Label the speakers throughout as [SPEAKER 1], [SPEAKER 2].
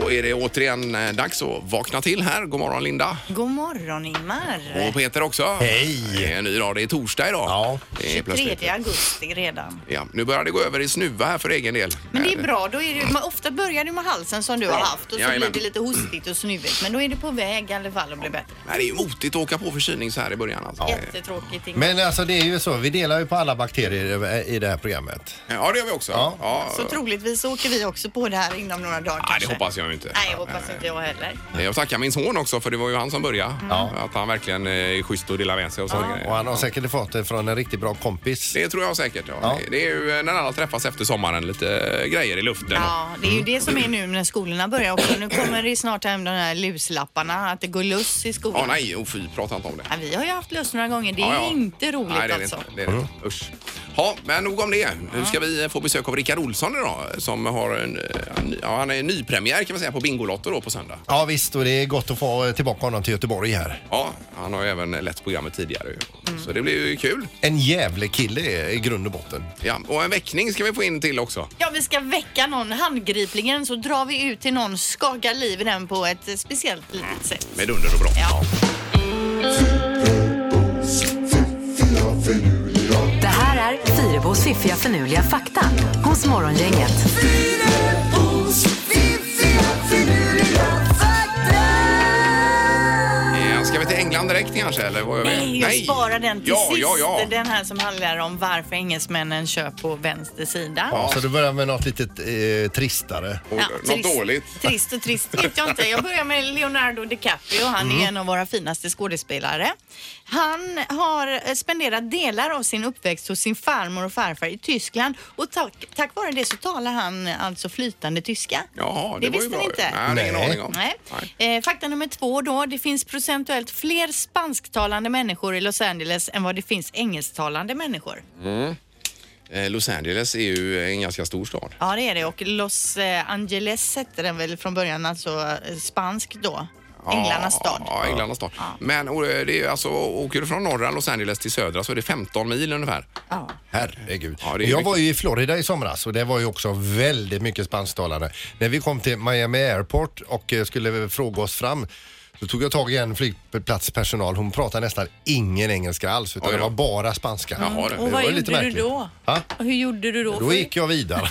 [SPEAKER 1] Då är det återigen eh, dags att vakna till här. God morgon Linda.
[SPEAKER 2] God morgon Ingmar.
[SPEAKER 1] Och Peter också.
[SPEAKER 3] Hej.
[SPEAKER 1] Det är en ny dag. Det är torsdag idag.
[SPEAKER 3] Ja.
[SPEAKER 1] Det är plötsligt.
[SPEAKER 2] 23 augusti redan.
[SPEAKER 1] Ja, nu börjar det gå över i snuva här för egen del.
[SPEAKER 2] Men det är bra, då är det, man, ofta börjar det med halsen som du har haft och så
[SPEAKER 1] Jajamän.
[SPEAKER 2] blir det lite hostigt och snuvigt. Men då är det på väg i alla fall att bli bättre.
[SPEAKER 1] Nej, det är ju motigt att åka på förkylning så här i början. Alltså.
[SPEAKER 2] Jättetråkigt Ingmar.
[SPEAKER 3] Men alltså det är ju så, vi delar ju på alla bakterier i- i det här programmet.
[SPEAKER 1] Ja, det gör vi också.
[SPEAKER 3] Ja.
[SPEAKER 2] Så troligtvis åker vi också på det här inom några dagar
[SPEAKER 1] Nej,
[SPEAKER 2] kanske.
[SPEAKER 1] det hoppas jag ju inte.
[SPEAKER 2] Nej, jag hoppas inte jag heller.
[SPEAKER 1] Nej, Jag tackar min son också för det var ju han som började.
[SPEAKER 2] Mm.
[SPEAKER 1] Att han verkligen eh, är schysst och delar med sig och sådana
[SPEAKER 3] Och
[SPEAKER 1] grejer.
[SPEAKER 3] han har säkert fått det från en riktigt bra kompis.
[SPEAKER 1] Det tror jag säkert. Ja.
[SPEAKER 3] Ja.
[SPEAKER 1] Det är ju eh, när alla träffas efter sommaren lite eh, grejer i luften.
[SPEAKER 2] Ja, det är
[SPEAKER 1] Mm.
[SPEAKER 2] ju det som är nu när skolorna börjar också. Nu kommer det snart hem de här luslapparna, att det går luss i skolan.
[SPEAKER 1] Ja, nej, oh, fy, prata inte om det.
[SPEAKER 2] Ja, vi har ju haft löss några gånger. Det är
[SPEAKER 1] Ja, ja.
[SPEAKER 2] inte roligt
[SPEAKER 1] Nej, det är det
[SPEAKER 2] alltså.
[SPEAKER 1] Inte, det är det inte. Usch. Ja, men nog om det. Nu ska vi få besök av Rickard Olsson idag som har en, eh, ja, han är nypremiär kan man säga på Bingolotto då på söndag.
[SPEAKER 3] Ja visst, och det är gott att få tillbaka honom till Göteborg här.
[SPEAKER 1] Ja, han har ju även lett programmet tidigare ju.
[SPEAKER 2] Mm.
[SPEAKER 1] Så det blir ju kul.
[SPEAKER 3] En jävlig kille är- i grund och botten.
[SPEAKER 1] Ja, och en väckning ska vi få in till också.
[SPEAKER 2] Ja, vi ska väcka någon handgripligen så drar vi ut till någon, skakar liv i den på ett eh, speciellt litet sätt.
[SPEAKER 1] Med dunder och brak.
[SPEAKER 2] Ja.
[SPEAKER 4] Det här är Fyrabos fiffiga förnuliga fakta hos Morgongänget.
[SPEAKER 1] Eh, Ska vi till England direkt kanske? Eller vad gör vi?
[SPEAKER 2] Nej, jag sparar den till
[SPEAKER 1] ja,
[SPEAKER 2] sist.
[SPEAKER 1] Ja, ja,
[SPEAKER 2] Den här som handlar om varför engelsmännen kör på vänster sida.
[SPEAKER 3] Så du börjar med något lite eh, tristare.
[SPEAKER 1] Och,
[SPEAKER 2] Ja,
[SPEAKER 1] något
[SPEAKER 2] trist-
[SPEAKER 1] dåligt.
[SPEAKER 2] Trist och trist vet jag inte. Jag börjar med Leonardo DiCaprio. Han
[SPEAKER 1] Mm.
[SPEAKER 2] är en av våra finaste skådespelare. Han har eh, spenderat delar av sin uppväxt hos sin farmor och farfar i Tyskland och tack, tack vare det så talar han eh, alltså flytande tyska.
[SPEAKER 1] Jaha, det,
[SPEAKER 2] det
[SPEAKER 1] var ju
[SPEAKER 2] visste
[SPEAKER 1] bra.
[SPEAKER 2] ni
[SPEAKER 1] ju.
[SPEAKER 2] inte.
[SPEAKER 1] Nej, det är ingen
[SPEAKER 3] Nej.
[SPEAKER 1] aning om.
[SPEAKER 2] Nej.
[SPEAKER 1] Nej.
[SPEAKER 2] Eh, fakta nummer två då. Det finns procentuellt fler spansktalande människor i Los Angeles än vad det finns engelsktalande människor.
[SPEAKER 1] Eh, Los Angeles är ju en ganska stor stad.
[SPEAKER 2] Ja, det är det. Och Los eh, Angeles hette den väl från början, alltså eh, spansk då. Änglarnas stad.
[SPEAKER 1] Ja, Änglarnas stad. Men och, eh, det är, ju alltså, åker du från norra Los Angeles till södra så är det 15 mil ungefär.
[SPEAKER 2] Ja.
[SPEAKER 3] Herregud.
[SPEAKER 1] Ja, det är
[SPEAKER 3] jag
[SPEAKER 1] mycket.
[SPEAKER 3] var ju i Florida i somras och det var ju också väldigt mycket spansktalande. När vi kom till Miami Airport och eh, skulle fråga oss fram så tog jag tag i en flygplatspersonal. Hon pratade nästan ingen engelska alls utan
[SPEAKER 1] Oj
[SPEAKER 3] det
[SPEAKER 1] då.
[SPEAKER 3] var bara spanska.
[SPEAKER 1] Jaha, det.
[SPEAKER 2] Och vad
[SPEAKER 3] var ju
[SPEAKER 2] gjorde
[SPEAKER 3] lite
[SPEAKER 2] du
[SPEAKER 3] märkligt.
[SPEAKER 2] då?
[SPEAKER 3] Ha?
[SPEAKER 2] Och Hur gjorde du då?
[SPEAKER 3] Då gick jag vidare.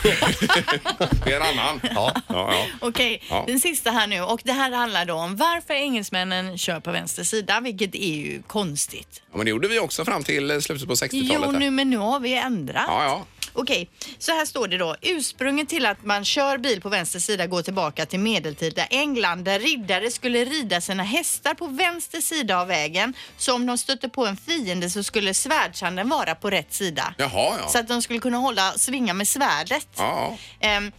[SPEAKER 1] Det är en annan. ja. Ja,
[SPEAKER 2] Okej,
[SPEAKER 1] Ja.
[SPEAKER 2] den sista här nu. Och det här handlar då om varför engelsmännen kör på vänster sida, vilket är ju konstigt.
[SPEAKER 1] Ja, Men det gjorde vi också fram till eh, slutet på 60-talet.
[SPEAKER 2] Jo,
[SPEAKER 1] där.
[SPEAKER 2] nu, men nu har vi ändrat.
[SPEAKER 1] Ja, ja.
[SPEAKER 2] Okej, så här står det då. Ursprunget till att man kör bil på vänster sida går tillbaka till medeltida England där riddare skulle rida sina hästar på vänster sida av vägen. Så om de stötte på en fiende så skulle svärdshanden vara på rätt sida.
[SPEAKER 1] Jaha, ja.
[SPEAKER 2] Så att de skulle kunna hålla, svinga med svärdet.
[SPEAKER 1] Ja,
[SPEAKER 2] Ehm,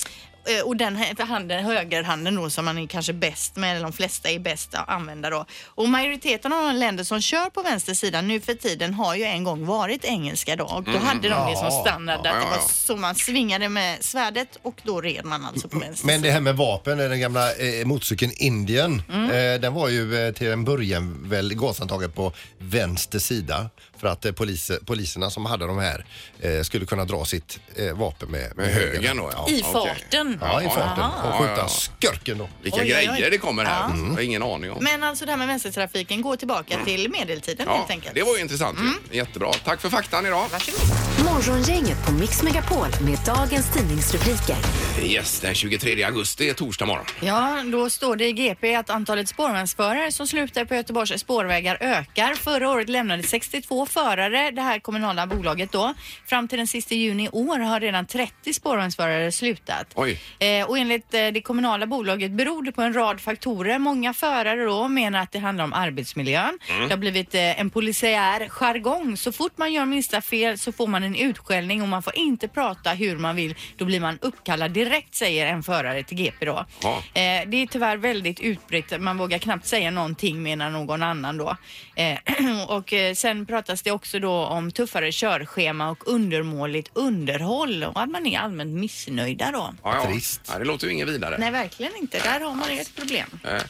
[SPEAKER 2] eh, och den här handen, högerhanden då som man är kanske bäst med, eller de flesta är bäst att använda då. Och majoriteten av de länder som kör på vänster sida nu för tiden har ju en gång varit engelska då. Och då hade de det som standard
[SPEAKER 1] Mm. Ja,
[SPEAKER 2] att det
[SPEAKER 1] ja,
[SPEAKER 2] var
[SPEAKER 1] ja.
[SPEAKER 2] så man svingade med svärdet och då red man alltså
[SPEAKER 1] Mm,
[SPEAKER 2] på vänster
[SPEAKER 3] Men
[SPEAKER 2] sida.
[SPEAKER 3] det här med vapen, den gamla eh, motorcykeln Indien, eh, den var ju eh, till en början väl gasantaget på vänster sida för att eh, poliser, poliserna som hade de här eh, skulle kunna dra sitt eh, vapen med,
[SPEAKER 1] med högen då.
[SPEAKER 3] Ja,
[SPEAKER 2] I
[SPEAKER 1] Okej.
[SPEAKER 2] farten.
[SPEAKER 3] ja i farten och
[SPEAKER 1] Ja,
[SPEAKER 3] skjuta
[SPEAKER 1] ja, ja.
[SPEAKER 3] skurken då.
[SPEAKER 1] Vilka
[SPEAKER 2] Oj, oj, oj.
[SPEAKER 1] grejer det kommer här. Jag har ingen aning om.
[SPEAKER 2] Men alltså det här med vänstertrafiken går tillbaka till medeltiden
[SPEAKER 1] Mm. ja,
[SPEAKER 2] helt enkelt. Mm.
[SPEAKER 1] det var ju intressant. ju. Jättebra. Tack för faktan idag.
[SPEAKER 2] Varsågod.
[SPEAKER 4] Morgongänget på Mix Megapol med dagens tidningsrubriker.
[SPEAKER 1] Yes, den 23 augusti är torsdag morgon.
[SPEAKER 2] Ja, då står det i GP att antalet spårvagnsförare som slutar på Göteborgs spårvägar ökar. Förra året lämnade 62 förare det här kommunala bolaget då. Fram till den sista juni i år har redan 30 spårvagnsförare slutat.
[SPEAKER 1] Oj.
[SPEAKER 2] Eh, och enligt eh, det kommunala bolaget beror det på en rad faktorer. Många förare då menar att det handlar om arbetsmiljön.
[SPEAKER 1] Mm.
[SPEAKER 2] Det har blivit eh, en polisiär jargong. Så fort man gör minsta fel så får man en utskällning och man får inte prata hur man vill. Då blir man uppkallad direkt säger en förare till GP då.
[SPEAKER 1] Ja.
[SPEAKER 2] Eh, det är tyvärr väldigt utbrett. Man vågar knappt säga någonting menar någon annan då. Eh, och eh, sen pratas det också då om tuffare körschema och undermåligt underhåll och att man är allmänt missnöjda då.
[SPEAKER 1] Ja, ja.
[SPEAKER 3] Trist.
[SPEAKER 1] Ja, det låter ju inget vidare.
[SPEAKER 2] Nej, verkligen inte. Där har man ett problem.
[SPEAKER 1] Eh,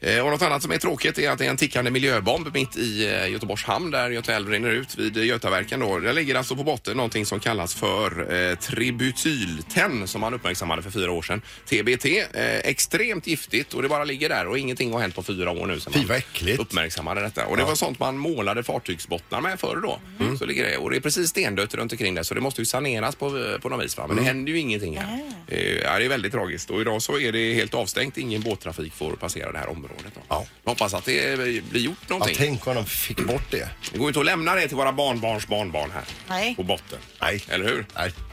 [SPEAKER 1] Eh, Och något annat som är tråkigt är att det är en tickande miljöbomb mitt i eh, Göteborgs hamn där Göta älv rinner ut vid Götaverken. Då. Där ligger alltså på botten någonting som kallas för eh, tributylten som man uppmärksammade för fyra år sedan. TBT. Eh, extremt giftigt och det bara ligger där och ingenting har hänt på fyra år nu. sedan
[SPEAKER 3] Fy,
[SPEAKER 1] man
[SPEAKER 3] vad äckligt.
[SPEAKER 1] uppmärksammade detta. Och det var sånt man målade fartygsbottnar med förr då.
[SPEAKER 3] Mm.
[SPEAKER 1] Så ligger det. Och det är precis stendött runt omkring det så det måste ju saneras på, på något vis. Va? Men
[SPEAKER 3] Mm.
[SPEAKER 1] det händer ju ingenting här. Eh, ja, det är väldigt tragiskt och idag så är det helt avstängt. Ingen båttrafik får passera det här området. Då.
[SPEAKER 3] Ja.
[SPEAKER 1] Jag Hoppas att det eh, blir gjort
[SPEAKER 3] Ja,
[SPEAKER 1] någonting.
[SPEAKER 3] tänk om de fick bort det.
[SPEAKER 1] Det går ju inte att lämna det till våra barnbarns barnbarn här
[SPEAKER 2] Nej.
[SPEAKER 1] på botten.
[SPEAKER 3] Nej.
[SPEAKER 1] Eller hur?
[SPEAKER 3] Nej.
[SPEAKER 1] Så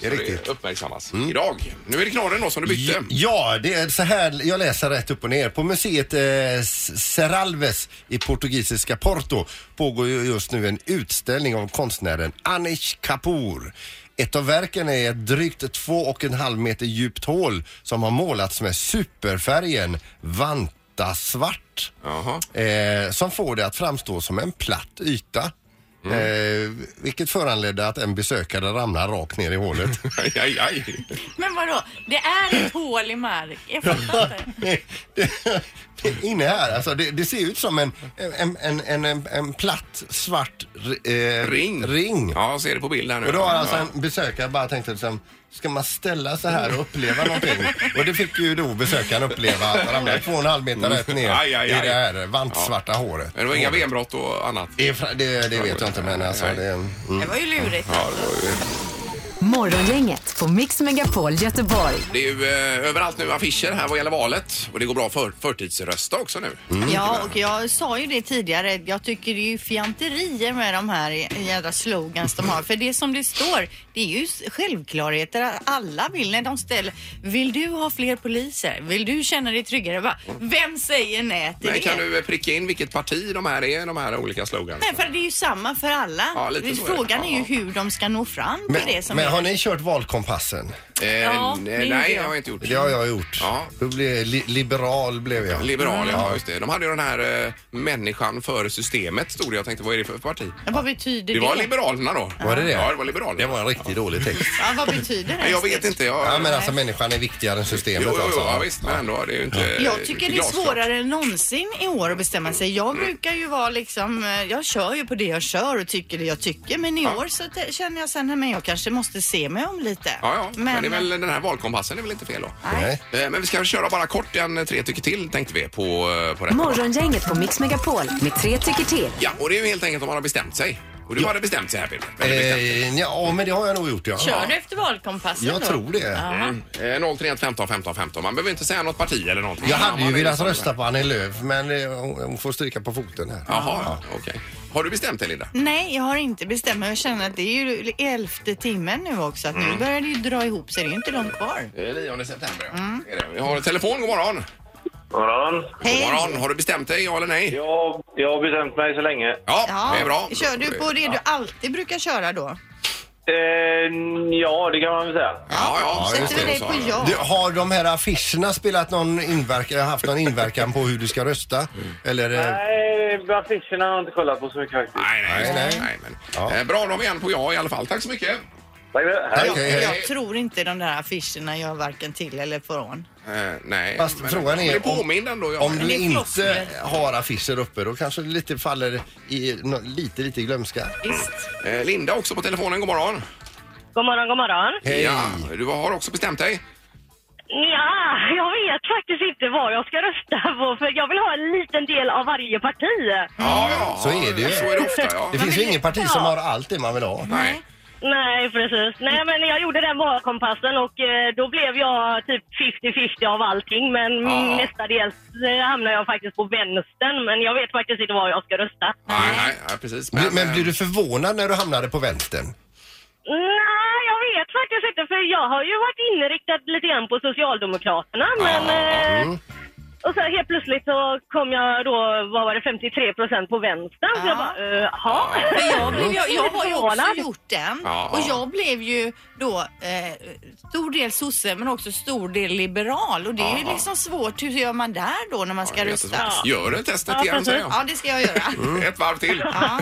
[SPEAKER 3] Det är riktigt. Mm.
[SPEAKER 1] uppmärksammas idag. Nu är det knorren då som du bytte.
[SPEAKER 3] Ja, det är så här jag läser rätt upp och ner. På museet eh, S- Serralves i portugisiska Porto pågår ju just nu en utställning av konstnären Anish Kapoor. Ett av verken är ett drygt två och en halv meter djupt hål som har målats med superfärgen vantasvart.
[SPEAKER 1] Jaha.
[SPEAKER 3] Eh, som får det att framstå som en platt yta. Eh, vilket föranledde att en besökare ramlade rakt ner i hålet.
[SPEAKER 1] Aj, aj, aj.
[SPEAKER 2] Men vadå? Det är ett hål i mark. Jag fattar inte.
[SPEAKER 3] Det- det- Inne här, alltså det, det ser ut som en, en, en, en, en, en platt svart eh,
[SPEAKER 1] Ring.
[SPEAKER 3] ring.
[SPEAKER 1] Ja, jag ser det på bild här nu.
[SPEAKER 3] Och då har alltså
[SPEAKER 1] ja.
[SPEAKER 3] en besökare bara tänkt liksom, ska man ställa sig här och uppleva någonting? Och det fick ju då besökaren uppleva, att han ramlade två och en halv meter rätt ner
[SPEAKER 1] Aj, aj, aj.
[SPEAKER 3] i det här vantsvarta håret.
[SPEAKER 1] Men det var inga benbrott och annat.
[SPEAKER 3] Det, är fra- det, det vet jag inte men alltså
[SPEAKER 1] Nej.
[SPEAKER 3] det... Mm.
[SPEAKER 2] Det var ju lurigt.
[SPEAKER 1] Ja, det, var ju...
[SPEAKER 4] Morgongänget på Mix Megapol Göteborg.
[SPEAKER 1] det är ju eh, överallt nu affischer här vad gäller valet och det går bra för förtidsrösta också nu.
[SPEAKER 3] Mm.
[SPEAKER 1] Mm.
[SPEAKER 2] Ja, och jag sa ju det tidigare. Jag tycker det är ju fjanterier med de här jädra slogans de har. För det som det står, det är ju självklarheter. Alla vill när de ställer. Vill du ha fler poliser? Vill du känna dig tryggare? Va? Vem säger nej till
[SPEAKER 1] Men
[SPEAKER 2] det?
[SPEAKER 1] kan du eh, pricka in vilket parti de här är, de här olika sloganerna?
[SPEAKER 2] Nej, för det är ju samma för alla.
[SPEAKER 1] Ja, lite så är det.
[SPEAKER 2] Frågan är ju
[SPEAKER 1] Ja.
[SPEAKER 2] hur de ska nå fram till
[SPEAKER 3] Men,
[SPEAKER 2] det som
[SPEAKER 3] men
[SPEAKER 2] är.
[SPEAKER 3] har ni kört valkompassen?
[SPEAKER 1] Eh,
[SPEAKER 2] Ja,
[SPEAKER 1] n-
[SPEAKER 2] det är ju
[SPEAKER 1] nej,
[SPEAKER 2] det.
[SPEAKER 1] jag har inte gjort
[SPEAKER 3] Det har jag gjort.
[SPEAKER 1] Ja.
[SPEAKER 3] Då blev, li, liberal blev jag.
[SPEAKER 1] Liberal,
[SPEAKER 3] Mm.
[SPEAKER 1] ja just det. De hade ju den här eh, människan före systemet stod det. Jag tänkte vad är det för parti?
[SPEAKER 2] Men Vad betyder
[SPEAKER 1] Det
[SPEAKER 2] det?
[SPEAKER 1] var Liberalerna då.
[SPEAKER 3] Var det det?
[SPEAKER 1] Ja, det var Liberalerna.
[SPEAKER 3] Det var en riktigt dålig text.
[SPEAKER 2] Ja, vad betyder det?
[SPEAKER 1] Nej, jag vet inte. Jag...
[SPEAKER 3] Ja, men alltså människan är viktigare än systemet
[SPEAKER 1] Jo, jo, jo,
[SPEAKER 3] alltså.
[SPEAKER 1] ja, visst, men ändå. Det är ju inte...
[SPEAKER 2] Jag tycker det är
[SPEAKER 1] glasklart.
[SPEAKER 2] svårare än någonsin i år att bestämma sig. Jag brukar ju vara liksom, eh, jag kör ju på det jag kör och tycker det jag tycker. Men i år så t- känner jag sen, nej, men jag kanske måste se mig om lite. eh,
[SPEAKER 1] Ja, ja. Men, det är väl, den här valkompassen är väl inte fel då?
[SPEAKER 3] Nej.
[SPEAKER 1] Eh, Men vi ska köra bara kort en eh, tre tycker till tänkte vi på, eh, på detta.
[SPEAKER 4] Morgongänget på Mix Megapol med tre tycker till.
[SPEAKER 1] Ja, och det är ju helt enkelt om man har bestämt sig. Och du hade bestämt sig här Peter. Eller bestämt.
[SPEAKER 3] Eh, ja, men det har jag nog gjort ja.
[SPEAKER 2] Kör du efter valkompassen
[SPEAKER 3] Jag
[SPEAKER 2] då?
[SPEAKER 3] tror det.
[SPEAKER 1] Mm. Eh, 031 15 15 15. Man behöver inte säga något parti eller någonting.
[SPEAKER 3] Jag hade
[SPEAKER 1] Man
[SPEAKER 3] ju
[SPEAKER 1] är
[SPEAKER 3] velat
[SPEAKER 1] liksom-
[SPEAKER 3] rösta på Annie Lööf men eh, hon hon får stryka på foten här.
[SPEAKER 1] Jaha, okej. Har du bestämt dig Linda?
[SPEAKER 2] Nej, jag har inte bestämt mig. Jag känner att det är ju elfte timmen nu också. Att
[SPEAKER 1] Mm.
[SPEAKER 2] Nu börjar det ju dra ihop sig. Det är ju inte långt kvar.
[SPEAKER 1] Det är 9 Eh, september ja.
[SPEAKER 3] Mm.
[SPEAKER 1] Det är det. Vi har telefon, god morgon.
[SPEAKER 5] Morgon.
[SPEAKER 1] God
[SPEAKER 2] Hej!
[SPEAKER 1] morgon. Har du bestämt dig, ja eller nej?
[SPEAKER 5] Jag, jag har bestämt mig så länge.
[SPEAKER 1] Ja,
[SPEAKER 2] Ja,
[SPEAKER 1] det är bra.
[SPEAKER 2] Kör du på det du alltid brukar köra då?
[SPEAKER 5] Eh, ja, det kan man väl säga.
[SPEAKER 1] Ja, ja.
[SPEAKER 2] Sätter vi dig på ja?
[SPEAKER 3] Du, har de här affischerna spelat någon inverkan, haft någon inverkan på hur du ska rösta? Eller? eh,
[SPEAKER 5] Nej, affischerna har jag inte kollat på så mycket faktiskt.
[SPEAKER 1] Nej, nej,
[SPEAKER 3] Nej,
[SPEAKER 1] nej.
[SPEAKER 3] nej.
[SPEAKER 1] nej men.
[SPEAKER 3] Ja.
[SPEAKER 1] Eh, bra, då har vi en på ja i alla fall. Tack så mycket.
[SPEAKER 5] Tack, hej.
[SPEAKER 3] Okej, eh,
[SPEAKER 1] Ja,
[SPEAKER 3] hej.
[SPEAKER 2] Jag tror inte de där affischerna gör varken till eller från.
[SPEAKER 1] Eh, nej.
[SPEAKER 3] Fast
[SPEAKER 1] men,
[SPEAKER 3] frågan är
[SPEAKER 1] Det
[SPEAKER 3] om-
[SPEAKER 1] påminner ändå. Ja.
[SPEAKER 3] Om du
[SPEAKER 2] det är
[SPEAKER 3] inte
[SPEAKER 2] floskler.
[SPEAKER 3] har affischer uppe då kanske det lite faller i nå- lite, lite glömska.
[SPEAKER 2] Visst.
[SPEAKER 1] Eh, Linda också på telefonen, god morgon.
[SPEAKER 6] God morgon, god morgon.
[SPEAKER 3] Hej!
[SPEAKER 1] Ja, du har också bestämt dig?
[SPEAKER 6] Ja, jag vet faktiskt inte vad jag ska rösta på för jag vill ha en liten del av varje parti.
[SPEAKER 1] Ja, ja.
[SPEAKER 3] Så är det ju.
[SPEAKER 1] Så är det ofta, ja.
[SPEAKER 3] Det finns ju inget parti som har allt det man vill ha.
[SPEAKER 1] Nej.
[SPEAKER 6] Nej, precis. Nej, men jag gjorde den valkompassen och eh, då blev jag typ 50-50 av allting. Men
[SPEAKER 1] Ja.
[SPEAKER 6] nästa del eh, hamnade jag faktiskt på vänstern. Men jag vet faktiskt inte vad jag ska rösta.
[SPEAKER 1] Nej, nej, nej, precis. eh,
[SPEAKER 3] Men, men blir du förvånad när du hamnade på vänstern?
[SPEAKER 6] Nej, jag vet faktiskt inte för jag har ju varit inriktad lite grann på Socialdemokraterna. Men, eh, Och så helt plötsligt så kom jag då, vad var det, 53 procent på vänstern. Så jag bara, eh, jaha.
[SPEAKER 2] Men jag, blev, jag, jag har ju också
[SPEAKER 6] Förvånad.
[SPEAKER 2] gjort den
[SPEAKER 1] Ja.
[SPEAKER 2] och jag blev ju då eh, stor del sosse men också stor del liberal och det är ju
[SPEAKER 1] Ja.
[SPEAKER 2] liksom svårt. Hur gör man där då när man ska
[SPEAKER 1] Ja, det är
[SPEAKER 2] rösta?
[SPEAKER 1] jättesvårt. Gör du testet
[SPEAKER 6] Ja,
[SPEAKER 1] igen,
[SPEAKER 6] precis.
[SPEAKER 1] säger jag.
[SPEAKER 2] Ja, det ska jag göra.
[SPEAKER 3] Mm.
[SPEAKER 1] Ett varv till.
[SPEAKER 2] Ja.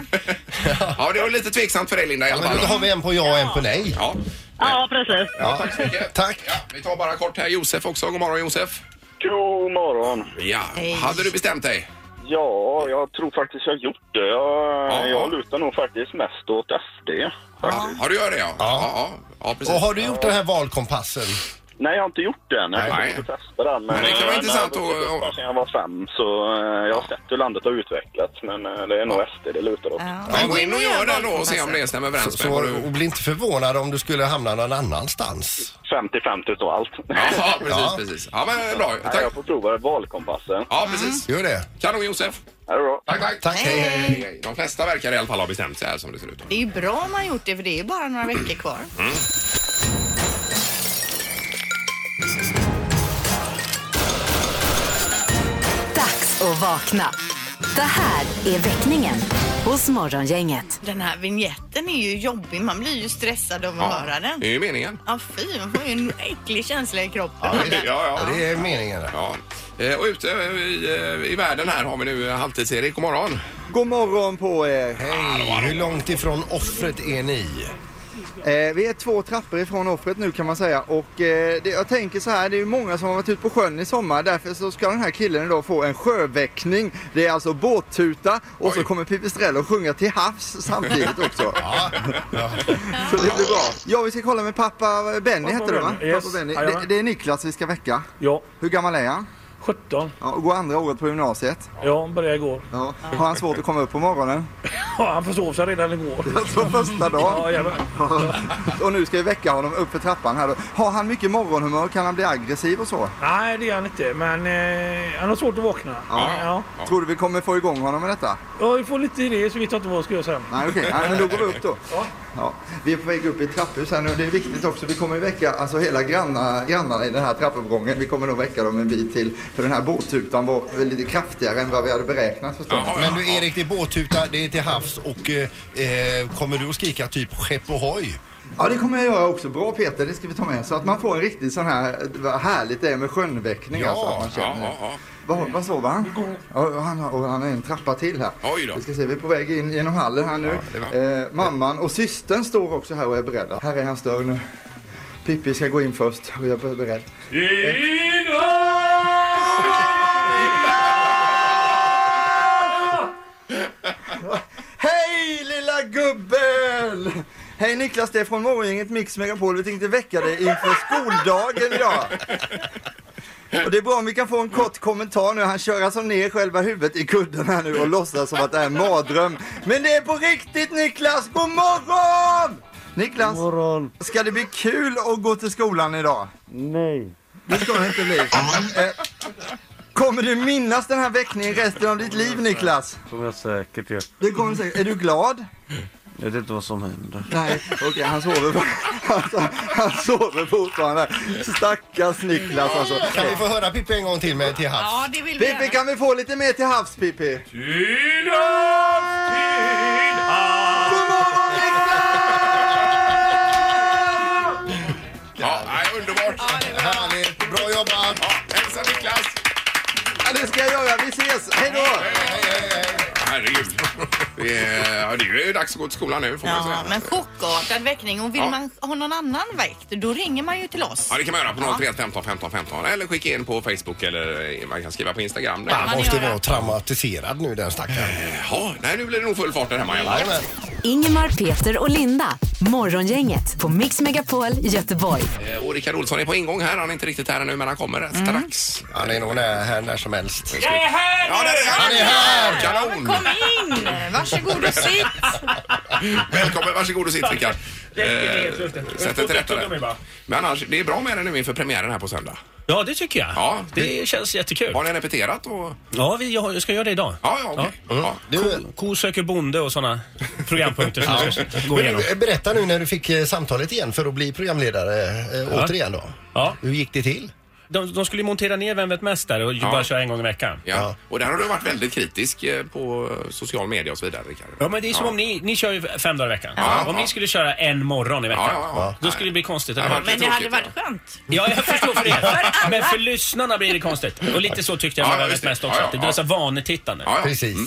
[SPEAKER 1] Ja, det var lite tveksamt för dig Linda i alla
[SPEAKER 3] Men
[SPEAKER 1] fall.
[SPEAKER 3] då har vi en på ja och en på nej.
[SPEAKER 1] Ja.
[SPEAKER 6] Ja, precis.
[SPEAKER 1] ja, tack så mycket.
[SPEAKER 3] Tack.
[SPEAKER 1] Ja, vi tar bara kort här Josef också. God morgon Josef.
[SPEAKER 7] God morgon.
[SPEAKER 1] Ja,
[SPEAKER 2] Hej.
[SPEAKER 1] hade du bestämt dig?
[SPEAKER 7] Ja, jag tror faktiskt jag gjort det. Jag,
[SPEAKER 1] Ja.
[SPEAKER 7] jag lutar nog faktiskt mest åt SD.
[SPEAKER 1] Ja. Har du gjort det ja? Ja, ja, ja precis.
[SPEAKER 3] Och har du gjort den här valkompassen?
[SPEAKER 7] Nej, jag har inte gjort det än. Jag
[SPEAKER 1] Nej.
[SPEAKER 7] tänkte inte testa den.
[SPEAKER 1] Men det kan vara intressant
[SPEAKER 7] jag har
[SPEAKER 1] att-
[SPEAKER 7] vuxit upp Sen jag var fem, så eh, jag har sett hur landet har utvecklats. Men eh, det är nog SD det lutar åt.
[SPEAKER 2] Ja.
[SPEAKER 1] Men gå in och gör den då och se om det stämmer
[SPEAKER 3] Så,
[SPEAKER 1] överens med vad
[SPEAKER 3] så,
[SPEAKER 1] du...
[SPEAKER 3] och bli inte förvånad om du skulle hamna någon annanstans.
[SPEAKER 7] 50-50 utav allt.
[SPEAKER 1] Ja, precis,
[SPEAKER 3] Ja.
[SPEAKER 1] precis. Ja, men bra.
[SPEAKER 7] Nej,
[SPEAKER 1] Tack.
[SPEAKER 7] jag får prova valkompassen.
[SPEAKER 1] Ja, precis.
[SPEAKER 3] Gör det.
[SPEAKER 1] Kanon Josef.
[SPEAKER 7] Ja, det är bra.
[SPEAKER 1] Tack, tack.
[SPEAKER 3] Tack, hej, hej.
[SPEAKER 1] Hej, hej. De flesta verkar i alla fall ha bestämt sig här som det ser ut.
[SPEAKER 2] Det är ju bra om man gjort det för det är ju bara några veckor kvar.
[SPEAKER 4] Dags att vakna. Det här är väckningen hos Morgongänget.
[SPEAKER 2] Den här vignetten är ju jobbig. Man blir ju stressad av att höra den.
[SPEAKER 1] det är ju meningen.
[SPEAKER 2] Ja, fy, man får ju en äcklig känsla i kroppen.
[SPEAKER 1] Ja, ja.
[SPEAKER 3] Det är meningen.
[SPEAKER 1] ja. Eh, Och ute i, eh, i världen här har vi nu eh, Halvtids-Erik. God morgon!
[SPEAKER 8] God morgon på er.
[SPEAKER 3] Hej, hur långt ifrån offret är ni?
[SPEAKER 8] Eh, vi är två trappor ifrån offret nu kan man säga. Och eh, det, jag tänker så här, det är ju många som har varit ute på sjön i sommar. Därför så ska den här killen idag få en sjöväckning. Det är alltså båttuta och
[SPEAKER 1] Oj.
[SPEAKER 8] så kommer Pipistrello att sjunga till havs samtidigt också. Så det blir bra. Ja, vi ska kolla med pappa Benny hette det va?
[SPEAKER 9] Benny, yes.
[SPEAKER 8] Pappa Benny. Det,
[SPEAKER 9] Jajamän.
[SPEAKER 8] det är Niklas vi ska väcka.
[SPEAKER 9] Ja,
[SPEAKER 8] Hur gammal är han?
[SPEAKER 9] 17.
[SPEAKER 8] Ja, och går andra året på gymnasiet.
[SPEAKER 9] Ja, han började igår.
[SPEAKER 8] Ja. Har han svårt att komma upp på morgonen?
[SPEAKER 9] Ja, han försov sig redan igår.
[SPEAKER 8] Alltså första dagen.
[SPEAKER 9] Ja, jajamän.
[SPEAKER 8] Och nu ska vi väcka honom upp för trappan här då. Har han mycket morgonhumör? Kan han bli aggressiv och så?
[SPEAKER 9] Nej, det är han inte. Men eh, han har svårt att vakna.
[SPEAKER 8] Ja.
[SPEAKER 9] Ja.
[SPEAKER 8] Tror du vi kommer få igång honom med detta?
[SPEAKER 9] ja, vi får lite idéer så vet jag inte vad jag ska göra sen.
[SPEAKER 8] Nej okej, Nej, men då går vi upp då. Ja. Vi är på väg upp i ett trapphus här nu. Det är viktigt också, vi kommer ju väcka alltså hela granna, grannarna i den här trappuppgången. Vi kommer nog väcka dem en bit till. För den här båttutan var väl lite kraftigare än vad vi hade beräknat förstås.
[SPEAKER 1] Jaha,
[SPEAKER 3] Men du Erik, det är båttuta, det är till havs och eh, eh, kommer du att skrika typ skepp ohoj?
[SPEAKER 8] Ja, det kommer jag göra också. Bra Peter, det ska vi ta med. Så att man får en riktig sån här, vad härligt det är med sjönväckning.
[SPEAKER 3] Ja,
[SPEAKER 8] alltså, att man
[SPEAKER 1] ja,
[SPEAKER 8] känner.
[SPEAKER 1] ja, ja.
[SPEAKER 8] Vad, vad sover han? Ja, han, har- och han har en trappa till här.
[SPEAKER 1] Oj då.
[SPEAKER 8] Vi ska se, vi är på väg in genom hallen här nu. eh, mamman och systern står också här och är beredda. Här är hans dörr nu. Pippi ska gå in först och jag är beredd. Hej lilla gubben! Hej Niklas, det är från morgongänget Mix Megapol. Vi tänkte väcka dig inför skoldagen idag. Och det är bra om vi kan få en kort kommentar nu. Han kör alltså ner själva huvudet i kudden här nu och låtsas som att det är en mardröm. Men det är på riktigt Niklas! God morgon! Niklas,
[SPEAKER 9] morgon.
[SPEAKER 8] ska det bli kul att gå till skolan idag?
[SPEAKER 9] Nej.
[SPEAKER 8] Det ska det inte bli. Eh, Kommer du minnas den här väckningen resten av ditt liv Niklas?
[SPEAKER 9] Som jag säkert gör.
[SPEAKER 8] Det kommer du säkert. Är du glad?
[SPEAKER 9] Jag vet inte vad som händer.
[SPEAKER 8] Nej, okej han sover alltså, Han sover fortfarande. Stackars Niklas alltså.
[SPEAKER 3] Kan vi få höra Pippi en gång till med till havs?
[SPEAKER 2] Ja, det vill vi
[SPEAKER 8] Pippi,
[SPEAKER 2] gärna.
[SPEAKER 8] kan vi få lite mer till havs Pippi?
[SPEAKER 1] ja nej, underbart!
[SPEAKER 3] Härligt, bra jobbat!
[SPEAKER 1] Ja, hälsa Niklas!
[SPEAKER 8] Ja, det ska jag göra. Vi ses. Hej då!
[SPEAKER 1] Herregud. Det är, ja, det är ju dags att gå till skolan nu får man
[SPEAKER 2] Ja,
[SPEAKER 1] säga.
[SPEAKER 2] men chockartad väckning. Och vill
[SPEAKER 1] Ja.
[SPEAKER 2] man ha någon annan väckt, då ringer man ju till oss.
[SPEAKER 1] Ja, det kan man göra på 031 15 15 15 eller skicka in på Facebook eller eh, man kan skriva på Instagram.
[SPEAKER 3] Han
[SPEAKER 1] Där.
[SPEAKER 2] man
[SPEAKER 3] måste
[SPEAKER 2] göra?
[SPEAKER 3] vara traumatiserad nu den stackaren.
[SPEAKER 1] Jaha, nej nu blir det nog full fart där hemma i alla fall.
[SPEAKER 4] Ingemar, Peter och Linda. Morgongänget på Mix Megapol Göteborg.
[SPEAKER 1] Eh, Och Rickard Olsson är på ingång här. Han är inte riktigt här ännu men han kommer
[SPEAKER 2] Mm.
[SPEAKER 1] rätt strax.
[SPEAKER 3] Han är nog nä- här när som helst.
[SPEAKER 1] Jag är här! Ja, där är han!
[SPEAKER 3] Han är här!
[SPEAKER 1] Kanon!
[SPEAKER 2] Kom in! Varsågod och sitt.
[SPEAKER 1] Välkommen, varsågod och sitt Rickard. Eh, Sätt dig till rätta där. Men annars, det är bra med det nu inför premiären här på söndag.
[SPEAKER 10] Ja, det tycker jag.
[SPEAKER 1] Ja.
[SPEAKER 10] Det känns jättekul.
[SPEAKER 1] Har ni repeterat och...
[SPEAKER 10] Ja, vi jag har- jag ska göra det idag.
[SPEAKER 1] Ja, ja, okej. Ja. Mm.
[SPEAKER 3] Du,
[SPEAKER 10] Ko söker bonde och sådana programpunkter som vi ska gå
[SPEAKER 3] men
[SPEAKER 10] igenom.
[SPEAKER 3] du, berätta nu när du fick eh, samtalet igen för att bli programledare eh,
[SPEAKER 10] Ja.
[SPEAKER 3] återigen då.
[SPEAKER 10] Ja.
[SPEAKER 3] Hur gick det till?
[SPEAKER 10] De, de skulle ju montera ner Vem vet mest där och ju
[SPEAKER 1] Ja.
[SPEAKER 10] bara köra en gång i veckan.
[SPEAKER 1] Ja. Och där har du varit väldigt kritisk eh, på social media och så vidare Rickard.
[SPEAKER 10] Ja, men det är som om ni, ni kör ju fem dagar i veckan.
[SPEAKER 1] Ja.
[SPEAKER 10] om
[SPEAKER 1] Ja.
[SPEAKER 10] ni skulle köra en morgon i veckan,
[SPEAKER 1] Ja, ja, ja.
[SPEAKER 10] då skulle det bli konstigt.
[SPEAKER 1] Ja,
[SPEAKER 10] Eller?
[SPEAKER 1] men-
[SPEAKER 2] Men
[SPEAKER 1] Det
[SPEAKER 2] det
[SPEAKER 1] är
[SPEAKER 2] hade
[SPEAKER 1] tråkigt,
[SPEAKER 2] varit skönt.
[SPEAKER 10] Ja, jag förstår för er. Men för lyssnarna blir det konstigt. Och lite så tyckte jag
[SPEAKER 1] Ja,
[SPEAKER 10] med Vem
[SPEAKER 1] just
[SPEAKER 10] vet
[SPEAKER 1] det.
[SPEAKER 10] mest också.
[SPEAKER 1] Ja, ja,
[SPEAKER 10] att det blir
[SPEAKER 1] ja.
[SPEAKER 10] så vanetittande.
[SPEAKER 1] Ja, Mm, ja.
[SPEAKER 3] Precis.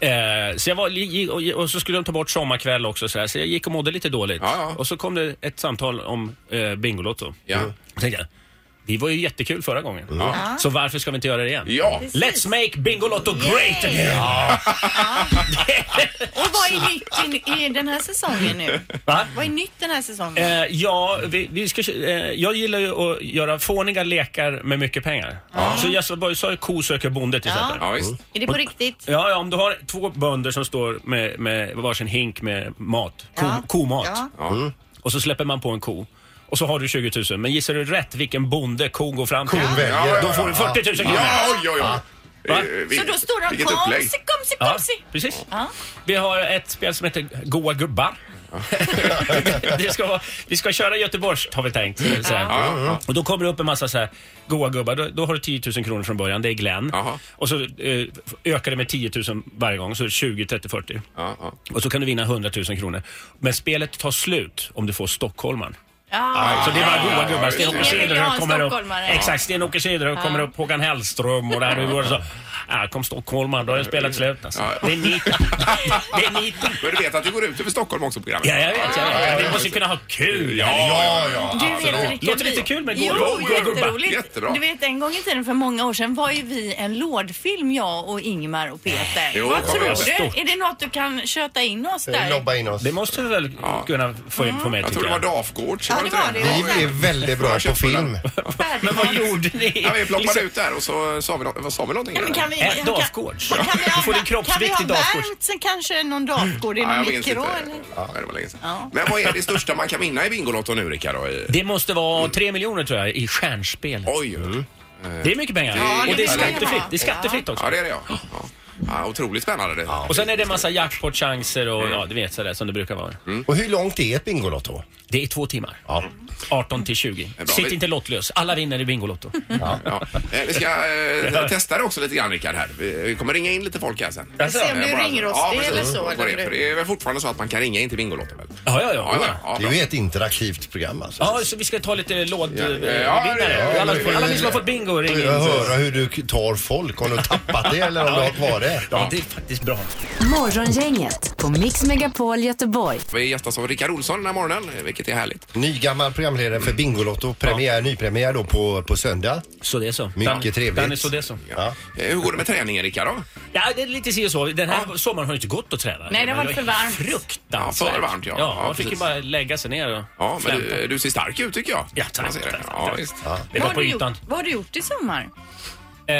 [SPEAKER 10] Eh, så jag var, gi- och, och så skulle de ta bort sommarkväll också så, här, så jag gick och mådde lite dåligt.
[SPEAKER 1] Ja, ja.
[SPEAKER 10] Och så kom det ett samtal om eh, Bingolotto.
[SPEAKER 1] Ja.
[SPEAKER 10] Då tänkte jag, vi var ju jättekul förra gången.
[SPEAKER 1] Ja.
[SPEAKER 10] Så varför ska vi inte göra det igen?
[SPEAKER 1] Ja.
[SPEAKER 10] Let's make Bingolotto great again!
[SPEAKER 2] Och vad är nytt i, i den här säsongen nu?
[SPEAKER 10] Va?
[SPEAKER 2] Vad är nytt den här säsongen?
[SPEAKER 10] Eh, ja, vi, vi ska, eh, jag gillar ju att göra fåniga lekar med mycket pengar. Så jag sa- sa ju ko söker bonde till
[SPEAKER 2] Ja.
[SPEAKER 10] exempel.
[SPEAKER 1] Ja, visst.
[SPEAKER 2] Är det på riktigt?
[SPEAKER 10] Ja, ja, om du har två bönder som står med, med varsin hink med mat, ko,
[SPEAKER 2] Ja.
[SPEAKER 10] komat,
[SPEAKER 2] Ja.
[SPEAKER 1] Ja.
[SPEAKER 10] och så släpper man på en ko. Och så har du 20 000, men gissar du rätt vilken bonde kon går fram till?
[SPEAKER 3] Kon väljer.
[SPEAKER 1] Ja, ja, ja.
[SPEAKER 10] Då får du 40 000 kronor.
[SPEAKER 1] Ja, oj, oj, oj.
[SPEAKER 10] Va?
[SPEAKER 1] Eh, vi-
[SPEAKER 2] Så då står de
[SPEAKER 1] vilket upplägg.
[SPEAKER 2] komsi, komsi,
[SPEAKER 10] Ja,
[SPEAKER 2] komsi.
[SPEAKER 10] precis.
[SPEAKER 2] Ja.
[SPEAKER 10] Vi har ett spel som heter Goa gubbar. det ska, vara- vi ska köra Göteborgs har vi tänkt. Så här.
[SPEAKER 1] Ja, ja.
[SPEAKER 10] Och då kommer det upp en massa så här, goa gubbar. Då, då har du 10 000 kronor från början. Det är Glenn.
[SPEAKER 1] Jaha.
[SPEAKER 10] Och så eh, ökar det med 10 000 varje gång. Så 20, 30, 40.
[SPEAKER 1] Ja, ja.
[SPEAKER 10] Och så kan du vinna 100 000 kronor. Men spelet tar slut om du får stockholmaren.
[SPEAKER 2] Ja.
[SPEAKER 10] Så det är bara goa gubbar.
[SPEAKER 2] Ingen
[SPEAKER 10] Sten-Åke
[SPEAKER 2] vill ha
[SPEAKER 10] Cederhök
[SPEAKER 2] en
[SPEAKER 10] kommer upp.
[SPEAKER 2] stockholmare.
[SPEAKER 10] Exakt, Sten-Åke Cederhök kommer upp. Håkan Hellström och där. Och så. Ah, kom stockholmaren, då har det spelat slut alltså.
[SPEAKER 1] Ja.
[SPEAKER 10] Det är niten. Det är niten.
[SPEAKER 1] Men du vet att det går ut över Stockholm också programmet?
[SPEAKER 10] Ja, jag vet. Jag vet. Vi måste ju kunna ha kul.
[SPEAKER 1] Ja, ja, ja.
[SPEAKER 2] Du vet, Rickard,
[SPEAKER 10] Låter
[SPEAKER 2] vi-
[SPEAKER 10] lite kul med
[SPEAKER 2] Jo,
[SPEAKER 10] goa- goa gubbar.
[SPEAKER 2] jätteroligt.
[SPEAKER 1] Jättebra.
[SPEAKER 2] Du vet, en gång i tiden för många år sedan var ju vi en lådfilm, jag och Ingmar och Peter.
[SPEAKER 1] Jo,
[SPEAKER 2] Vad
[SPEAKER 1] det var
[SPEAKER 2] tror
[SPEAKER 1] stort.
[SPEAKER 2] du? Är det något du kan köta in oss
[SPEAKER 3] Eh,
[SPEAKER 2] där?
[SPEAKER 3] Lobba in oss.
[SPEAKER 10] Det måste vi väl kunna få in på mig,
[SPEAKER 1] Jag tror
[SPEAKER 10] tycker
[SPEAKER 1] det var
[SPEAKER 10] jag.
[SPEAKER 1] Dafgårds.
[SPEAKER 2] Ja, det
[SPEAKER 1] inte
[SPEAKER 2] var det.
[SPEAKER 3] Vi är väldigt bra på film.
[SPEAKER 2] Färdigt.
[SPEAKER 10] Men vad gjorde ni?
[SPEAKER 1] Ja, vi ploppade
[SPEAKER 10] Liksom-
[SPEAKER 1] ut där och så sa vi, nå- vad sa vi någonting.
[SPEAKER 2] Nej, men kan vi,
[SPEAKER 10] Ät
[SPEAKER 2] kan-
[SPEAKER 10] Dafgårds.
[SPEAKER 2] kan vi
[SPEAKER 10] Eh, Du får
[SPEAKER 2] ha-
[SPEAKER 10] din kroppsvikt i
[SPEAKER 2] Kan vi ha
[SPEAKER 10] Dafgårds.
[SPEAKER 2] värmt sen kanske någon Dafgård i
[SPEAKER 1] Ja,
[SPEAKER 2] någon
[SPEAKER 1] jag minns
[SPEAKER 2] mikro?
[SPEAKER 1] inte.
[SPEAKER 2] eller?
[SPEAKER 1] Ja, det var länge sedan.
[SPEAKER 2] Ja.
[SPEAKER 1] Men vad är det största man kan vinna i Bingolotto nu, Rickard? då? I-
[SPEAKER 10] Det måste vara tre miljoner tror jag i stjärnspel.
[SPEAKER 1] Oj!
[SPEAKER 10] Det är mycket pengar.
[SPEAKER 1] Ja, det
[SPEAKER 10] och det är
[SPEAKER 1] är det.
[SPEAKER 10] skattefritt. Det är skattefritt också.
[SPEAKER 1] Ja, det är det ja. ja. ja otroligt spännande det. Ja.
[SPEAKER 10] Och sen är det en massa jackpotchanser och ja, du vet sådär som det brukar vara.
[SPEAKER 3] Och hur långt är ett Bingolotto?
[SPEAKER 10] Det är två timmar.
[SPEAKER 3] Ja.
[SPEAKER 10] 18 till 20.
[SPEAKER 1] bra.
[SPEAKER 10] Sitt
[SPEAKER 1] Vi-
[SPEAKER 10] inte lottlös. Alla vinner i Bingolotto.
[SPEAKER 1] Eh, Vi ska eh, testa det också lite grann, Rickard. Här. Vi vi kommer ringa in lite folk här sen.
[SPEAKER 10] Jaså?
[SPEAKER 2] Se om du
[SPEAKER 1] Eh, bara-
[SPEAKER 2] ringer oss,
[SPEAKER 1] ja,
[SPEAKER 2] det
[SPEAKER 1] precis.
[SPEAKER 2] eller så.
[SPEAKER 1] Vad det är.
[SPEAKER 2] Eller?
[SPEAKER 1] För det är väl fortfarande så att man kan ringa in till Bingolotto? Väl?
[SPEAKER 10] Ja, ja, ja.
[SPEAKER 1] ja,
[SPEAKER 3] Det
[SPEAKER 1] bra.
[SPEAKER 3] är ju ett interaktivt program alltså.
[SPEAKER 10] Ja, så vi ska ta lite
[SPEAKER 1] Ja, ja, ja, ja,
[SPEAKER 10] lådvinnare.
[SPEAKER 1] ja,
[SPEAKER 10] Alla
[SPEAKER 1] ja, ja.
[SPEAKER 10] alla ni som har fått bingo, ring
[SPEAKER 3] Jag
[SPEAKER 10] in.
[SPEAKER 3] höra hur du tar folk, om du har tappat det eller om du har kvar det.
[SPEAKER 10] Ja, det är faktiskt bra.
[SPEAKER 4] Morgongänget på Mix Megapol Göteborg.
[SPEAKER 1] Vi gästas av Rickard Olsson den här morgonen, eh, vilket är härligt.
[SPEAKER 3] Nygammal programledare för Bingolotto, premiär, nypremiär då på, på söndag.
[SPEAKER 10] Så det är så.
[SPEAKER 3] Mycket
[SPEAKER 10] Dan-
[SPEAKER 3] trevligt.
[SPEAKER 10] Danny, så det är så.
[SPEAKER 3] Ja.
[SPEAKER 1] Eh, Hur går det med träningen, Rickard? Då?
[SPEAKER 10] Ja, det är lite si och så. Den här sommaren har ju inte gått att träna.
[SPEAKER 2] Nej, det har varit för varmt.
[SPEAKER 10] Fruktansvärt.
[SPEAKER 1] Ja, för varmt, ja.
[SPEAKER 10] ja
[SPEAKER 1] Ja,
[SPEAKER 10] man fick ju
[SPEAKER 1] precis.
[SPEAKER 10] bara lägga sig ner och
[SPEAKER 1] Ja, men
[SPEAKER 10] vänta.
[SPEAKER 1] du, du ser stark ut tycker jag.
[SPEAKER 10] Ja, tack.
[SPEAKER 1] Man ser det.
[SPEAKER 10] tack,
[SPEAKER 1] Ja,
[SPEAKER 10] tack.
[SPEAKER 1] visst.
[SPEAKER 10] Det
[SPEAKER 2] Vad
[SPEAKER 10] var
[SPEAKER 2] har,
[SPEAKER 10] på
[SPEAKER 2] du
[SPEAKER 10] ytan.
[SPEAKER 2] gjort, vad har du gjort i sommar?
[SPEAKER 10] Eh,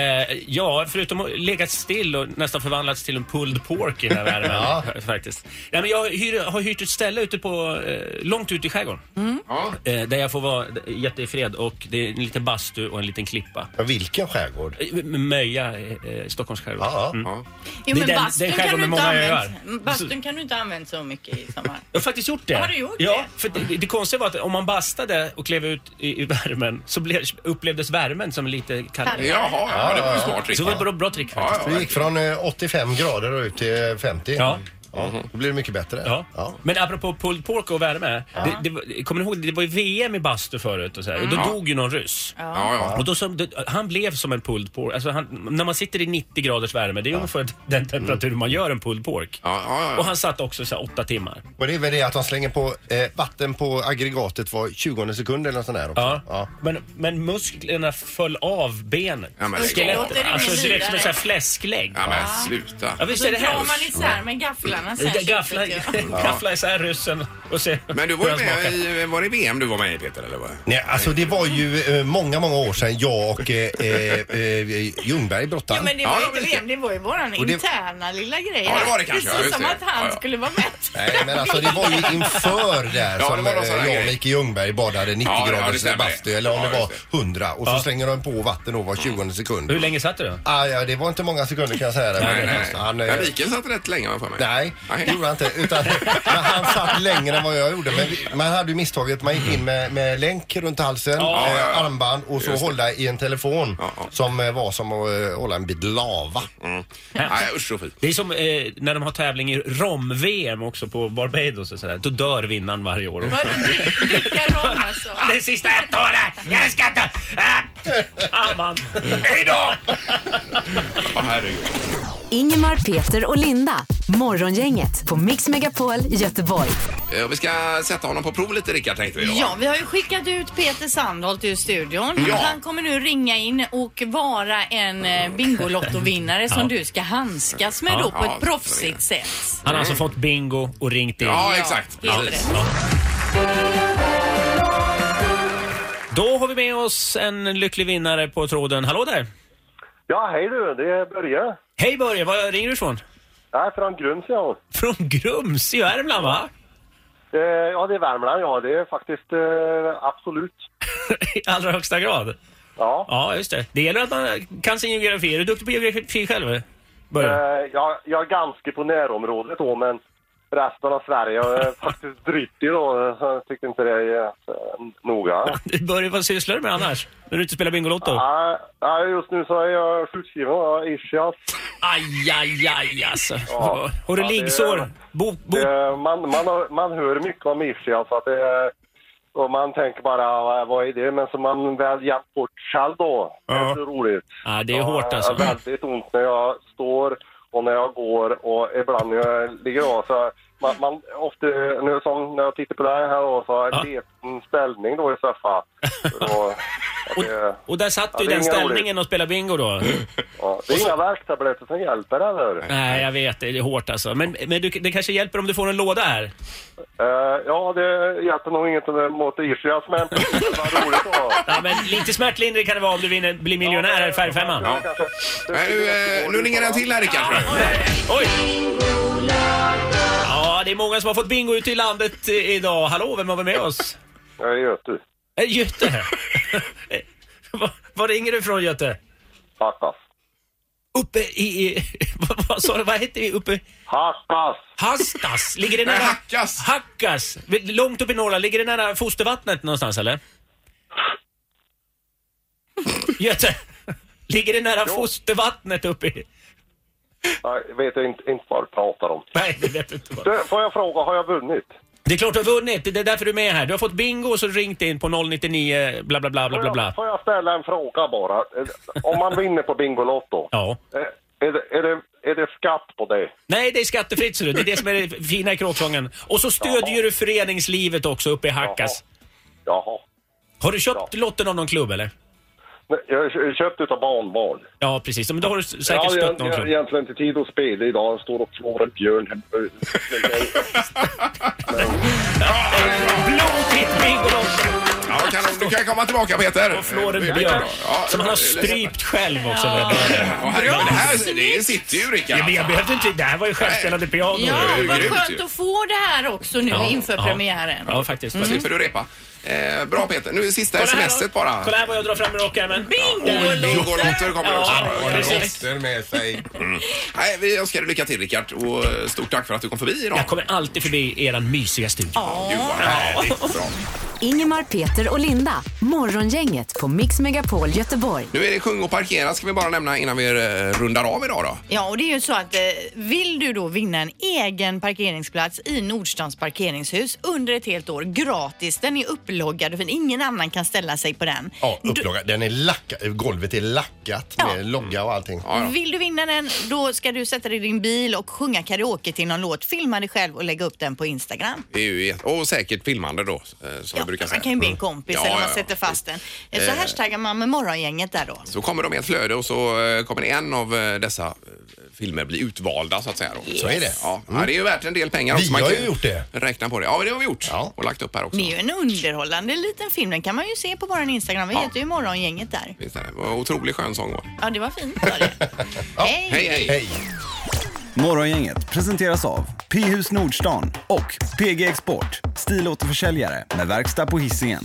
[SPEAKER 10] ja, förutom att legat still och nästan förvandlats till en pulled pork i den här värmen. faktiskt. Nej, men jag hyr, har hyrt ett ställe ute på, eh, långt ute i skärgården.
[SPEAKER 2] Mm.
[SPEAKER 1] Ja.
[SPEAKER 10] Eh, där jag får vara jättefred och det är en liten bastu och en liten klippa.
[SPEAKER 3] Men Vilken skärgård?
[SPEAKER 10] Eh, Möja, eh, Stockholms skärgård.
[SPEAKER 3] Ja, ja.
[SPEAKER 1] Ja.
[SPEAKER 2] Jo,
[SPEAKER 10] Det är
[SPEAKER 2] men
[SPEAKER 10] den-
[SPEAKER 2] bastun
[SPEAKER 10] den
[SPEAKER 2] kan
[SPEAKER 10] skärgården
[SPEAKER 2] du
[SPEAKER 10] med
[SPEAKER 2] inte
[SPEAKER 10] många
[SPEAKER 2] använt-
[SPEAKER 10] öar. Alltså-
[SPEAKER 2] Bastun kan du inte ha använt så mycket i sommar.
[SPEAKER 10] Jag har faktiskt gjort det.
[SPEAKER 2] Har du gjort
[SPEAKER 10] ja,
[SPEAKER 2] det?
[SPEAKER 10] För det, det konstiga var att om man bastade och klev ut i, i värmen så blev, upplevdes värmen som lite kallare.
[SPEAKER 1] Jaha, ja, det var ju smart
[SPEAKER 10] Så
[SPEAKER 1] Rickard.
[SPEAKER 10] det var ett bra, bra trick
[SPEAKER 1] Ja,
[SPEAKER 10] faktiskt.
[SPEAKER 1] ja,
[SPEAKER 3] Du gick från eh, 85 grader och ut till 50.
[SPEAKER 10] Ja.
[SPEAKER 3] Ja, Då blir det mycket bättre.
[SPEAKER 10] Ja.
[SPEAKER 3] Ja.
[SPEAKER 10] Men apropå pulled pork och värme. Det, det, var- kommer ni ihåg, det var ju VM i bastu förut och, så här, och då
[SPEAKER 2] Mm.
[SPEAKER 10] dog ju någon ryss.
[SPEAKER 1] Ja, ja.
[SPEAKER 10] Och då som, då, han blev som en pulled pork. Alltså han, när man sitter i 90 graders värme, det är ungefär den temperatur man gör en pulled pork.
[SPEAKER 1] Ja, ja, ja.
[SPEAKER 10] Och han satt också så här, åtta timmar.
[SPEAKER 3] Och det är väl det att de slänger på eh, vatten på aggregatet var 20 sekund eller något sånt där också.
[SPEAKER 10] Ja.
[SPEAKER 3] Ja.
[SPEAKER 10] Men, men musklerna föll av benet.
[SPEAKER 1] Ja, men lägg av.
[SPEAKER 10] Skelettet.
[SPEAKER 2] Låter det
[SPEAKER 10] Alltså det lät som en
[SPEAKER 2] vidare?
[SPEAKER 10] sån här fläsklägg.
[SPEAKER 1] Ja, men sluta.
[SPEAKER 10] Ja, visst är det
[SPEAKER 2] Då drar man
[SPEAKER 10] hemskt?
[SPEAKER 2] isär med gafflarna sen.
[SPEAKER 10] Ga- Gaffla,
[SPEAKER 2] köttet, ja.
[SPEAKER 10] gaffla isär ryssen och se
[SPEAKER 1] Men du var
[SPEAKER 10] hur
[SPEAKER 1] ju
[SPEAKER 10] han
[SPEAKER 1] med
[SPEAKER 10] smakar.
[SPEAKER 1] i, var det VM du var med i Peter eller vad?
[SPEAKER 3] Nej, alltså det var ju eh, många, många år sedan jag och eh, eh, eh, Ljungberg brottade.
[SPEAKER 2] Ja, men det
[SPEAKER 1] Ja,
[SPEAKER 2] var
[SPEAKER 1] ja,
[SPEAKER 2] inte
[SPEAKER 1] visst.
[SPEAKER 2] VM, det var ju våran
[SPEAKER 3] det-
[SPEAKER 2] interna lilla grej.
[SPEAKER 1] Ja, det var det kanske, ja,
[SPEAKER 2] Precis
[SPEAKER 1] just
[SPEAKER 2] som
[SPEAKER 1] det.
[SPEAKER 2] att han
[SPEAKER 1] Ja, ja.
[SPEAKER 2] skulle vara med.
[SPEAKER 3] Nej men alltså det var ju inför där
[SPEAKER 1] Ja, det
[SPEAKER 3] som
[SPEAKER 1] var någon
[SPEAKER 3] eh,
[SPEAKER 1] sån här
[SPEAKER 3] jag och
[SPEAKER 1] grej.
[SPEAKER 3] Micke Ljungberg badade 90
[SPEAKER 1] Ja, ja, det
[SPEAKER 3] graders
[SPEAKER 1] stämmer.
[SPEAKER 3] bastu eller om
[SPEAKER 1] Ja,
[SPEAKER 3] det var
[SPEAKER 1] just
[SPEAKER 3] 100 och så
[SPEAKER 10] Ja.
[SPEAKER 3] slänger de på vatten och var 20 sekund.
[SPEAKER 10] Hur länge satt du då?
[SPEAKER 3] Ah, ja, det var inte många sekunder kan jag säga. Det.
[SPEAKER 1] Nej, nej.
[SPEAKER 3] Han, eh,
[SPEAKER 1] ja, Viken satt rätt länge har jag för mig.
[SPEAKER 3] Nej, det gjorde han inte. Utan, men han satt längre än vad jag gjorde. Men vi- man hade ju misstaget, man gick in med, med länk runt halsen,
[SPEAKER 10] Ja,
[SPEAKER 3] eh,
[SPEAKER 1] ja, ja.
[SPEAKER 3] armband och så
[SPEAKER 1] Just det.
[SPEAKER 3] hålla i en telefon
[SPEAKER 1] Ja, Mm. ja.
[SPEAKER 3] som eh, var som att eh, hålla en bit lava.
[SPEAKER 1] Nej, usch och fy.
[SPEAKER 10] Det är som eh, när de har tävling i rom-VM också på Barbados och sådär. Då dör vinnaren varje år.
[SPEAKER 2] Vad du dricker rom alltså.
[SPEAKER 10] Den sista jag tar här! Jag ska ta... Ah! Ah, man. Hej då!
[SPEAKER 1] Ja, herregud.
[SPEAKER 4] Ingemar, Peter och Linda. Morgongänget på Mix Megapol Göteborg.
[SPEAKER 1] Eh, Vi ska sätta honom på prov lite Rickard tänkte vi. va?
[SPEAKER 2] Ja, vi har ju skickat ut Peter Sandholt ur studion.
[SPEAKER 1] Ja.
[SPEAKER 2] Han kommer nu ringa in och vara en eh, Bingolotto-vinnare som
[SPEAKER 8] Ja.
[SPEAKER 2] du ska handskas med
[SPEAKER 8] Ja.
[SPEAKER 2] då på
[SPEAKER 8] Ja,
[SPEAKER 2] ett proffsigt sätt.
[SPEAKER 8] Han har alltså fått bingo och ringt in.
[SPEAKER 2] Ja, exakt. helt
[SPEAKER 8] Precis.
[SPEAKER 2] rätt.
[SPEAKER 8] Ja. Då har vi med oss en lycklig vinnare på tråden. Hallå där!
[SPEAKER 10] Ja, hej du, det är Börje.
[SPEAKER 8] Hej Börje, var ringer du ifrån?
[SPEAKER 10] Jag är från Grums, ja.
[SPEAKER 8] Från Grums i Värmland, va?
[SPEAKER 10] Eh, Ja, det är Värmland, ja. Det är faktiskt eh, absolut.
[SPEAKER 8] I allra högsta grad.
[SPEAKER 10] Ja.
[SPEAKER 8] Ja, just det. Det gäller att man kan sin geografi. Är du duktig på geografi själv? Börje?
[SPEAKER 10] Eh, Jag, jag är ganska på närområdet då, men resten av Sverige är faktiskt dryttig då. Så Jag tyckte inte det är eh, noga.
[SPEAKER 8] Börje, vad sysslar du med annars? När du inte spelar Bingolotto?
[SPEAKER 10] Nej, nej, just nu så är jag sjukskriven av ischias.
[SPEAKER 8] Aj, aj, aj alltså.
[SPEAKER 10] Ja.
[SPEAKER 8] Har du
[SPEAKER 10] Ja, det-
[SPEAKER 8] liggsår? Bo, bo.
[SPEAKER 10] Det, man, man, har- man hör mycket om ischias. Att det, och man tänker bara, "Vad- vad är det? Men som man väl hjälpt bort själv då. Det är
[SPEAKER 8] Ja.
[SPEAKER 10] så roligt.
[SPEAKER 8] Ja, det är hårt alltså.
[SPEAKER 10] Jag har väldigt ont när jag står och när jag går och ibland när jag ligger av. Så man, man, ofta nu som när jag tittar på det här då, så har jag en liten ställning då i soffan. Så då- att det-
[SPEAKER 8] Och där satt
[SPEAKER 10] Ja,
[SPEAKER 8] du i
[SPEAKER 10] det är
[SPEAKER 8] den
[SPEAKER 10] inga roligt.
[SPEAKER 8] ställningen och spelade bingo då?
[SPEAKER 10] Ja, det är inga värktabletter som hjälper eller?
[SPEAKER 8] Nej, jag vet. Det är hårt alltså. Men, men du, det kanske hjälper om du får en låda här?
[SPEAKER 10] Eh, ja, det hjälper nog inget mot ischias, men det var roligt då.
[SPEAKER 8] Ja, men lite smärtlindring kan det vara om du vinner, blir miljonär här i Färgfemman.
[SPEAKER 1] Nej, nu, eh, nu ringer den till här Rickard. tror jag.
[SPEAKER 8] Oj! Ja, det är många som har fått bingo ute i landet eh, idag. Hallå, vem har vi med oss?
[SPEAKER 10] Jag är Göte.
[SPEAKER 8] Eh, Göte? Eh, var, var ringer du ifrån Göte?
[SPEAKER 10] Hackas.
[SPEAKER 8] Uppe i... i vad, vad sa du? Vad hette vi? Uppe...
[SPEAKER 10] Hackas.
[SPEAKER 8] Hastas? Ligger det nära... Hackas! Hackas! Långt upp i Norrland. Ligger det nära fostervattnet någonstans eller? Göte! Ligger det nära fostervattnet uppe i...
[SPEAKER 10] Nej, vet jag inte, inte vad du pratar om.
[SPEAKER 8] Nej, det vet inte
[SPEAKER 10] Du, får jag fråga, har jag vunnit?
[SPEAKER 8] Det är klart du har vunnit. Det är därför du är med här. Du har fått bingo och så ringt in på 099 bla bla bla bla bla. bla.
[SPEAKER 10] Får jag ställa en fråga bara? Eh, Om man vinner på Bingolotto,
[SPEAKER 8] Ja.
[SPEAKER 10] eh, är, det, är, det, är det skatt på det?
[SPEAKER 8] Nej, det är skattefritt ser du. Det är det som är det fina i kråksången. Och så stödjer du föreningslivet också uppe i Hackas.
[SPEAKER 10] Jaha.
[SPEAKER 8] Har du köpt lotten av någon klubb eller?
[SPEAKER 10] Nej, Jag kö- köpte utav barnbarn.
[SPEAKER 8] Ja, precis. Men då har du s- säkert
[SPEAKER 10] jag,
[SPEAKER 8] stött
[SPEAKER 10] jag, jag
[SPEAKER 8] någon
[SPEAKER 10] har
[SPEAKER 8] klubb.
[SPEAKER 10] egentligen inte tid att spela idag. Jag står och flår en björn. hemma.
[SPEAKER 8] Blodigt Bingolotto!
[SPEAKER 1] Ja, kan, du kan komma tillbaka Peter.
[SPEAKER 8] Och Florent
[SPEAKER 1] Eh,
[SPEAKER 8] Björk,
[SPEAKER 1] Ja,
[SPEAKER 8] som han har
[SPEAKER 1] eh,
[SPEAKER 8] strypt själv också.
[SPEAKER 1] Ja.
[SPEAKER 8] vet du.
[SPEAKER 1] Ja, herregud, det här det sitter ju Rickard.
[SPEAKER 8] Ja, men jag behövde inte... Det här var ju självspelande piano.
[SPEAKER 2] Ja,
[SPEAKER 1] det är ju
[SPEAKER 2] vad
[SPEAKER 1] grymt
[SPEAKER 2] skönt
[SPEAKER 1] ju.
[SPEAKER 2] att få det här också nu
[SPEAKER 8] Ja,
[SPEAKER 2] inför
[SPEAKER 8] ja.
[SPEAKER 2] premiären.
[SPEAKER 8] Ja, faktiskt.
[SPEAKER 1] Då slipper du repa. Eh, bra Peter, nu är sista
[SPEAKER 8] Kolla här
[SPEAKER 1] smset
[SPEAKER 8] då.
[SPEAKER 1] bara.
[SPEAKER 8] Kolla här vad jag drar fram ur rockärmen.
[SPEAKER 1] Bingolotter kommer det också.
[SPEAKER 8] Ja, precis.
[SPEAKER 11] med sig.
[SPEAKER 1] Mm. Nej, vi önskar dig lycka till Rickard och eh, stort tack för att du kom förbi idag.
[SPEAKER 8] Jag kommer alltid förbi eran mysiga studio.
[SPEAKER 1] Gud vad härligt. Bra.
[SPEAKER 4] Ingemar, Peter och Linda. Morgongänget på Mix Megapol Göteborg.
[SPEAKER 1] Nu är det sjung och parkera ska vi bara nämna innan vi eh, rundar av idag då.
[SPEAKER 2] Ja, och det är ju så att eh, vill du då vinna en egen parkeringsplats i Nordstans parkeringshus under ett helt år gratis, den är upploggad och fin. ingen annan kan ställa sig på den.
[SPEAKER 11] Ja, upplaga. Den är lackat. Golvet är lackat med logga och allting.
[SPEAKER 2] Vill du vinna den, då ska du sätta dig i din bil och sjunga karaoke till någon låt, filma dig själv och lägga upp den på Instagram.
[SPEAKER 1] Det är ju, jätte- och säkert filmande då, eh, som vi brukar säga. Mm.
[SPEAKER 2] Man kan ju be en kompis
[SPEAKER 1] Ja,
[SPEAKER 2] eller man
[SPEAKER 1] ja, ja.
[SPEAKER 2] sätter fast den. Eh, Så
[SPEAKER 1] Eh.
[SPEAKER 2] hashtaggar man med morgongänget där då.
[SPEAKER 1] Så kommer de i ett flöde och så eh, kommer en av eh, dessa eh, filmer bli utvalda så att säga. Då.
[SPEAKER 11] Så är det. Mm.
[SPEAKER 1] Ja. ja, det är ju värt en del pengar
[SPEAKER 11] Vi
[SPEAKER 1] också. Man
[SPEAKER 11] har
[SPEAKER 1] kan
[SPEAKER 11] ju gjort det.
[SPEAKER 1] Räkna på det. Ja, men det har vi gjort. Och lagt upp här också.
[SPEAKER 2] Det är ju en underhållande liten film, den kan man ju se på vår Instagram. Vi
[SPEAKER 1] Ja.
[SPEAKER 2] heter ju morgongänget där.
[SPEAKER 1] Visst är det. Vad Otroligt skön sång var det.
[SPEAKER 2] Ja, det var fint. Var det. Hej!
[SPEAKER 1] Hej, hej.
[SPEAKER 12] Morgongänget presenteras av P-hus Nordstan och PG Export, stilåterförsäljare med verkstad på Hisingen.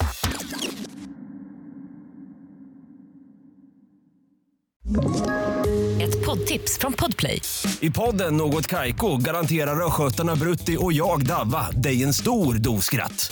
[SPEAKER 4] Ett poddtips från Podplay.
[SPEAKER 3] I podden Något Kaiko garanterar östgötarna Brutti och jag, Davva, dig en stor dos skratt.